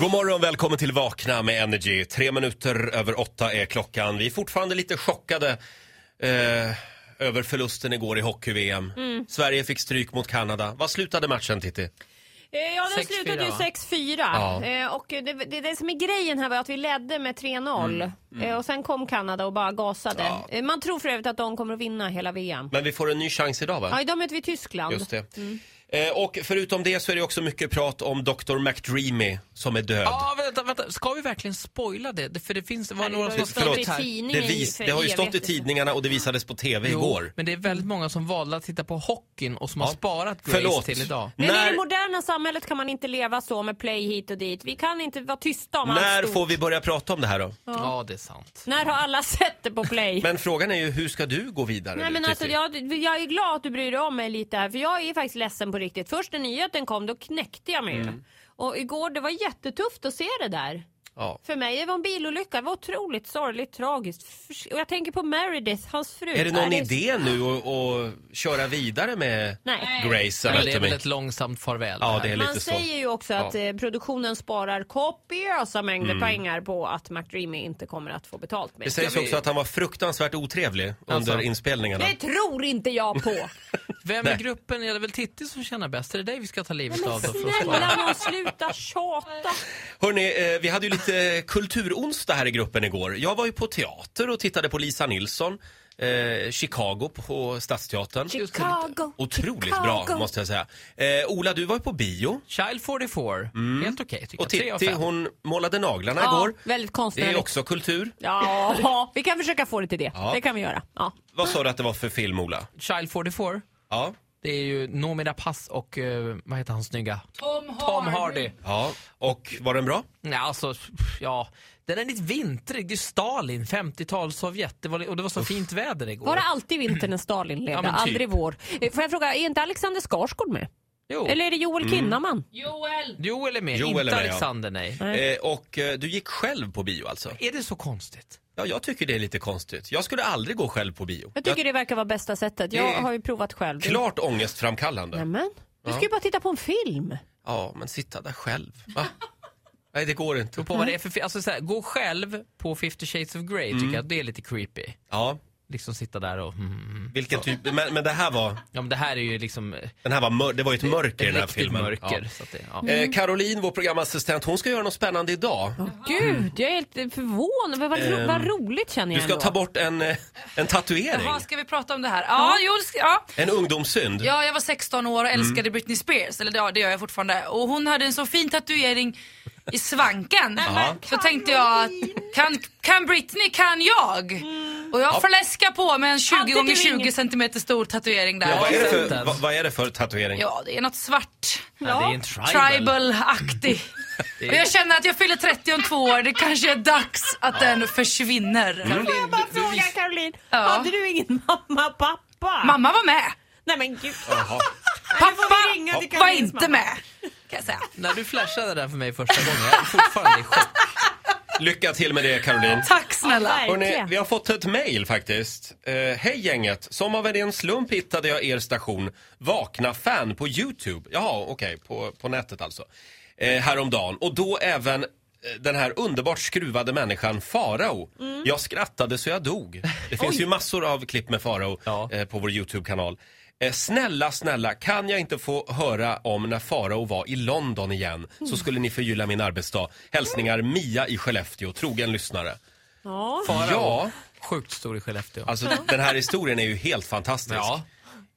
God morgon, välkommen till Vakna med Energy. Tre minuter över åtta är klockan. Vi är fortfarande lite chockade eh, över förlusten igår i hockey-VM. Mm. Sverige fick stryk mot Kanada. Vad slutade matchen, Titti? Eh, Ja, den 6-4, slutade ju va? 6-4. Ja. Eh, och det, det, det som är grejen här var att vi ledde med 3-0. Eh, och sen kom Kanada och bara gasade. Mm, Ja. Eh, man tror för övrigt att de kommer att vinna hela VM. Men vi får en ny chans idag, va? Ja, Mm. idag möter vi Tyskland. Just det. Eh, och förutom det så är det också mycket prat om Dr. McDreamy som är död. Ja, vänta, vänta. Ska vi verkligen spoila det? Det- För det finns, det var Nej, några det som har var ju skrivit stått i här. tidningen. Det, vis, för det har ju stått i evigt. liksom. tidningarna och det visades på TV igår. men det är väldigt många som valde att titta på hockeyn och som har sparat Grace Förlåt. till idag. Men i det När, moderna samhället kan man inte leva så med play hit och dit. Vi kan inte vara tysta om när allt stort. får vi börja prata om det här då? Ja, det är sant. När har alla sett det på play? Men frågan är ju, hur ska du gå vidare? Nej, nu, men alltså, Titti? jag, jag är glad att du bryr dig om mig lite här för jag är faktiskt ledsen på riktigt. Först när nyheten kom då knäckte jag mig ju. Mm. Och igår det var jättetufft att se det där. Ja. För mig det var en bilolycka, det var otroligt sorgligt, tragiskt. Förs- Och jag tänker på Meredith, hans fru. Är det någon Nej, idé nu att, att köra vidare med Nej. Grace Men det är väl Anatomy? ett långsamt farväl. Ja, här. det är Man lite så. säger ju också att eh, produktionen sparar kopiösa mängder pengar på att McDreamy inte kommer att få betalt med. Mm. Det sägs Ska vi- också att han var fruktansvärt otrevlig under Alltså. inspelningarna. Det tror inte jag på! Vem Nej. i gruppen är det väl Titti som tjänar bäst? Är det dig vi ska ta livet Men av då? för att spara? snälla nån, sluta tjata! Hörrni, eh, vi hade ju lite kulturonsdag här i gruppen igår. Jag var ju på teater och tittade på Lisa Nilsson, eh, Chicago på Stadsteatern. Chicago! Otroligt Chicago. bra måste jag säga. Eh, Ola, du var ju på bio Child 44. Helt okej tycker Mm. och jag. Tre av Titti fem. hon målade naglarna igår. väldigt Det är konstnärligt. också kultur. Ja, vi kan försöka få det till det. Ja. Det kan vi göra. Ja. Vad sa du att det var för film Ola? Child 44. Ja. Det är ju Noomi Pass och eh, vad heter han snygga? Tom Hardy. Tom Hardy. ja. Och var den bra? Nej, alltså, ja. Den är lite vintrig. Det är Stalin, 50-tal Sovjet. Det var, och det var så fint väder igår. Var det alltid vinter när Stalin ledde? Ja, men typ. Aldrig vår. Eh, Får jag fråga, är inte Alexander Skarsgård med? Jo. Eller är det Joel Mm. Kinnaman? Joel är med, Joel är inte med, ja. Alexander, nej. Eh, och eh, du gick själv på bio alltså? Är det så konstigt? Ja, jag tycker det är lite konstigt. Jag skulle aldrig gå själv på bio. Jag tycker det verkar vara bästa sättet. Det Jag är- har ju provat själv. Jag- Klart ångestframkallande. Nämen. Du ska ju bara titta på en film. Ja, men sitta där själv. Va? Nej, det går inte. Beror På vad det är för, fi- alltså, så här, gå själv på 50 shades of Grey Mm. tycker jag, det är lite creepy. Ja, Liksom sitta där och... Mm. vilken typ. Men, men det här var, Ja, men det här är ju liksom eh, den här var mör, det var ju ett mörker i den här riktigt filmen. mörker. Ja. Så att det, ja. Eh, Caroline, vår programassistent, hon ska göra något spännande idag. Gud, jag är helt eh, förvånad. Vad, vad, ro- vad roligt känner Ehm, Du jag ska ändå. ta bort en, eh, en tatuering. Jaha, ska vi prata om det här? Ja, jo, det ska, ja. En ungdomssynd. Mm. ja, jag var 16 år och älskade Britney Spears, eller ja, det gör jag fortfarande. Och hon hade en så fin tatuering i svanken. Så tänkte jag, att, kan, kan Britney, kan jag? Och jag fläskar på med en 20 Alltid gånger du 20 inget. cm stor tatuering där. Ja, vad, är det sett för, den. vad, vad är det för tatuering? Ja, det är något svart. Nej, det är en tribal. Tribal-aktig. Och jag känner att jag fyller 30 om två år, det kanske är dags att den försvinner. Får jag bara fråga Caroline, Ja. hade du ingen mamma och pappa? Mamma var med. Nej men gud. Jaha. Pappa vi ringa till var Karolins inte mamma. med. Kan jag säga. När du flashade där för mig första gången, jag är fortfarande i chock. Lycka till med det Caroline. Tack snälla. Hörrni, Verkligen. vi har fått ett mejl faktiskt. Eh, Hej gänget! Som av en ren slump hittade jag er station Vakna fan på Youtube. Jaha, okej, på, på nätet alltså. Eh, häromdagen. Och då även eh, den här underbart skruvade människan Farao. Jag skrattade så jag dog. Det finns ju massor av klipp med Farao Ja. eh, på vår Youtube-kanal. Eh, Snälla, snälla, kan jag inte få höra om när Farao var i London igen så skulle ni förgylla min arbetsdag. Hälsningar Mia i Skellefteå, trogen lyssnare. Ja. Ja. Sjukt stor i Skellefteå. Alltså den här historien är ju helt fantastisk. Ja.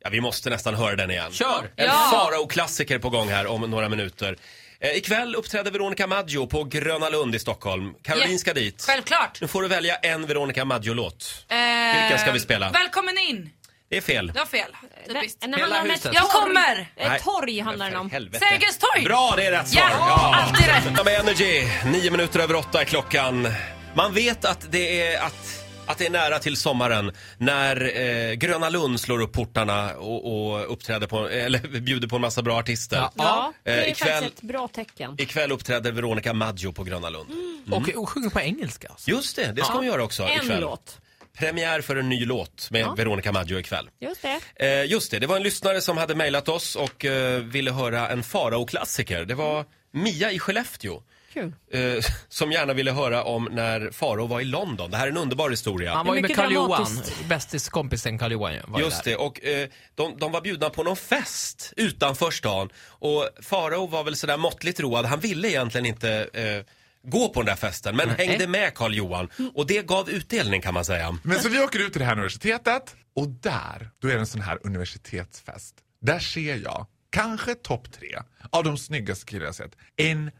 Ja. vi måste nästan höra den igen. Kör! En Ja. Farao-klassiker på gång här om några minuter. Eh, ikväll uppträder Veronica Maggio på Gröna Lund i Stockholm. Caroline Yes. ska dit. Självklart. Nu får du välja en Veronica Maggio-låt. Eh, Vilken ska vi spela? Välkommen in. Det är fel. Det var fel. Typiskt. Den handlar om ett huset. torg. Jag kommer. Nej. Ett Eh, torg handlar den Men om. för helvete. Sergels torg. Bra, det är rätt svar! Ja, alltid rätt. Vakna med Energy, nio minuter över åtta är klockan. Man vet att det är, att, att det är nära till sommaren när eh, Gröna Lund slår upp portarna och, och uppträder på, eller bjuder på en massa bra artister. Ja. Ja, det är Eh, ikväll- faktiskt ett bra tecken. Ikväll uppträder Veronica Maggio på Gröna Lund. Och, och sjunger på engelska. Alltså. Just det, det ska hon göra också En ikväll. låt. Premiär för en ny låt med Veronica Maggio ikväll. Just det. Eh, just det, det var en lyssnare som hade mejlat oss och eh, ville höra en Farao-klassiker. Det var Mia i Skellefteå. Kul. eh, som gärna ville höra om när Faro var i London. Det här är en underbar historia. Han var ju med mycket Karl Johan, dramatiskt. bästis kompisen Karl Johan ju, var ju Just där. det, och eh, de, de var bjudna på någon fest utanför stan. Och Farao var väl sådär måttligt road. Han ville egentligen inte eh, gå på den där festen, men hängde med Karl Johan. Och det gav utdelning kan man säga. Men så vi åker ut till det här universitetet och där, då är det en sån här universitetsfest. Där ser jag, kanske topp tre av de snyggaste killar jag sett. En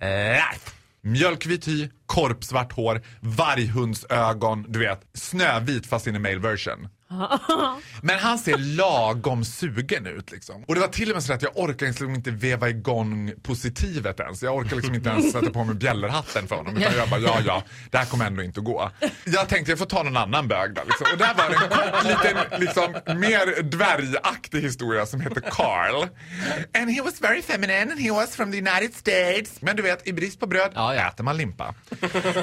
malaff! Mjölkvit hy, korpsvart hår, varghundsögon, du vet, snövit fast in i male version. Men han ser lagom sugen ut liksom. Och det var till och med så att jag orkar liksom inte veva igång positivet ens. Jag orkar liksom inte ens sätta på mig bjällerhatten för honom. Utan jag bara, ja ja, det här kommer ändå inte att gå. Jag tänkte jag får ta någon annan bög då liksom. Och där var det en kort liten, liksom mer dvärgaktig historia som heter Carl. And he was very feminine and he was from the United States. Men du vet, i brist på bröd Ja, ja. äter man limpa.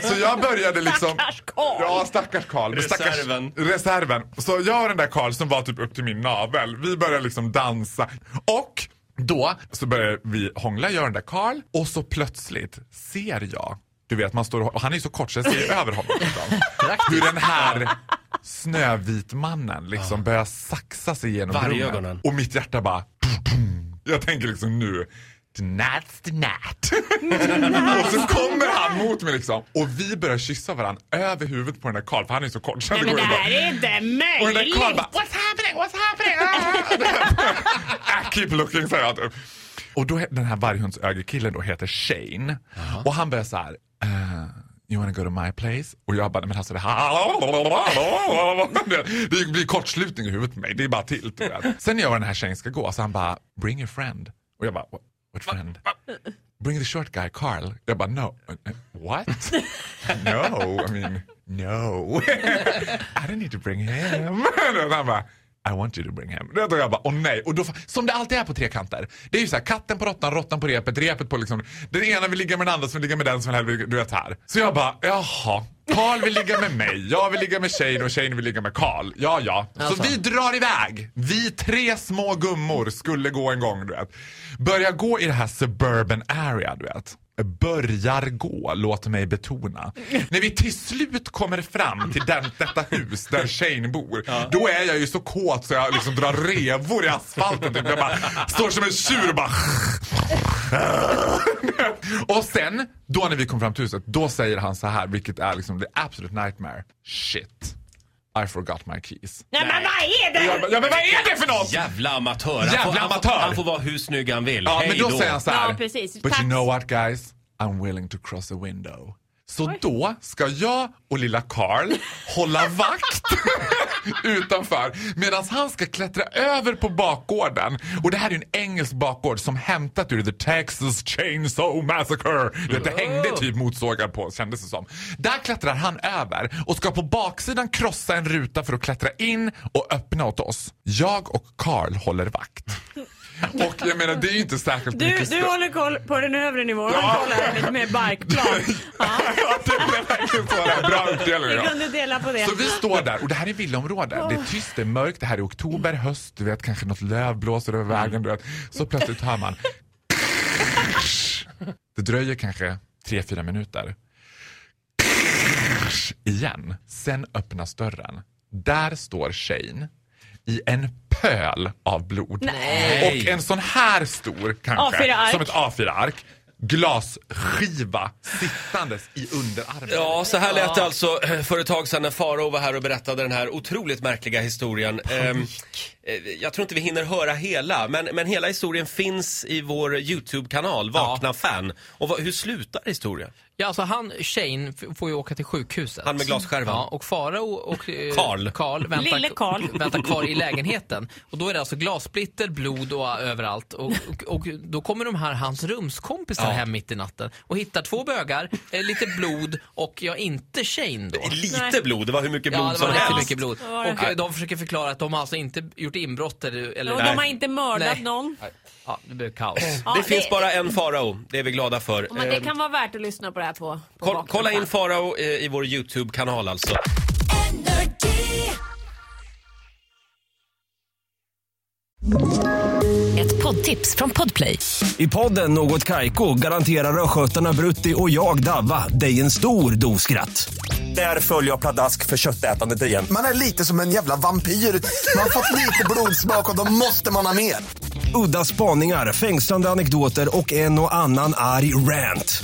Så jag började liksom... Stackars Carl. Ja, stackars Carl. Men stackars- Reserven. reserven. Så jag och den där Karl som var typ upp till min navel, vi började liksom dansa. Och då så började vi hångla, jag och den där Karl. Och så plötsligt ser jag, du vet man står och, och han är ju så kort så jag ser över honom. Liksom, hur den här snövitmannen liksom börjar saxa sig genom Vargögonen. rummet. Och mitt hjärta bara... Jag tänker liksom nu, tonight's the night. och så kommer han mot mig liksom och vi börjar kyssa varandra över huvudet på den där Karl för han är så kort. Så det Men går det ju bara- här är inte och den där Karl bara möjligt! “What's happening? What's happening?” Ah! I keep looking säger jag typ. Och då, he- den här varghundsögerkillen då heter Shane och han börjar så här eh, You wanna go to my place? Och jag bara, men alltså det här... Det- Det blir kortslutning i huvudet på mig. Det är bara tilt. du vet. Sen jag och den här Shane ska gå, så han bara, bring your friend. Och jag bara, what, what friend? Bring the short guy, Carl. Jag bara, no. What? No, I mean, no. I don't need to bring him. Och han bara, I want you to bring him. Och jag bara, åh nej. Och då, som det alltid är på trekanter. Det är ju så här, katten på råttan, råttan på repet, repet på liksom. Den ena vill ligga med den andra som vill ligga med den som vill ligga- du vet här. Så jag bara, jaha. Carl vill ligga med mig, jag vill ligga med Shane och Shane vill ligga med Carl. Ja, ja. Så Alltså. vi drar iväg. Vi tre små gummor skulle gå en gång, du vet. Börjar gå i det här suburban area, du vet. Börjar gå, låt mig betona. När vi till slut kommer fram till den, detta hus där Shane bor, då är jag ju så kåt så jag liksom drar revor i asfalten. Typ. Jag bara står som en tjur och bara... och sen, då när vi kom fram till huset, då säger han så här, vilket är liksom the absolute nightmare. Shit, I forgot my keys. Nej men vad är det? Jag bara, Ja men vad är det för något? Jävla amatör! Han, får, Jävla han, får, amatör. han får vara hur snygg han vill. Ja Hej men då, säger han så här. Ja, precis. But Tack. you know what guys? I'm willing to cross a window. Så då ska jag och lilla Carl hålla vakt utanför medan han ska klättra över på bakgården. Och det här är ju en engelsk bakgård som hämtat ur The Texas Chainsaw Massacre. Det, det hängde typ motsågar på kändes det som. Där klättrar han över och ska på baksidan krossa en ruta för att klättra in och öppna åt oss. Jag och Carl håller vakt. Och jag menar det är ju inte särskilt Du, mycket du stö- håller koll på den övre nivån och kollar lite mer barkplan. Ja, Ja, det blev verkligen så där. Bra uppdelning. vi ja. kunde dela på det. Så vi står där och det här är villaområde. Det är tyst, det är mörkt, det här är oktober, Mm. höst, du vet kanske något löv blåser över vägen. Du vet. Så plötsligt hör man. Det dröjer kanske tre fyra minuter. Igen. Sen öppnas dörren. Där står Shane i en pöl av blod. Nej. Och en sån här stor kanske, A4-ark. som ett A4-ark, glasskiva sittandes i underarmen. Ja, så här lät det alltså eh, för ett tag sedan när Farao var här och berättade den här otroligt märkliga historien. Ehm, eh, jag tror inte vi hinner höra hela, men, men hela historien finns i vår YouTube-kanal, Vakna fan. Och vad, hur slutar historien? Ja, alltså han, Shane, f- får ju åka till sjukhuset. Han med glasskärvan. Ja, och Farao och eh, Karl. Karl väntar, Lille Karl. väntar kvar i lägenheten. Och då är det alltså glassplitter, blod och eh, överallt. Och, och, och då kommer de här hans rumskompisar Ja. hem mitt i natten och hittar två bögar, eh, lite blod och ja, inte Shane då. Lite Nej. blod, det var hur mycket blod Ja, det som var helst. lite mycket blod. Vad var det? Och eh, de försöker förklara att de har alltså inte gjort inbrott eller... eller Och de har inte mördat Nej. någon. Ja, det blev kaos. Ja, Det finns bara en Farao, det är vi glada för. Ja, Men det Ehm, kan vara värt att lyssna på det här på. på koll, Vakna kolla in Fan. Farao eh, i vår YouTube-kanal alltså. Ett poddtips från Podplay. I podden Något Kaiko garanterar östgötarna Brutti och jag, Davva, dig en stor dos skratt. Där följer jag pladask för köttätandet igen. Man är lite som en jävla vampyr. Man har fått lite blodsmak och då måste man ha mer. Udda spaningar, fängslande anekdoter och en och annan arg rant.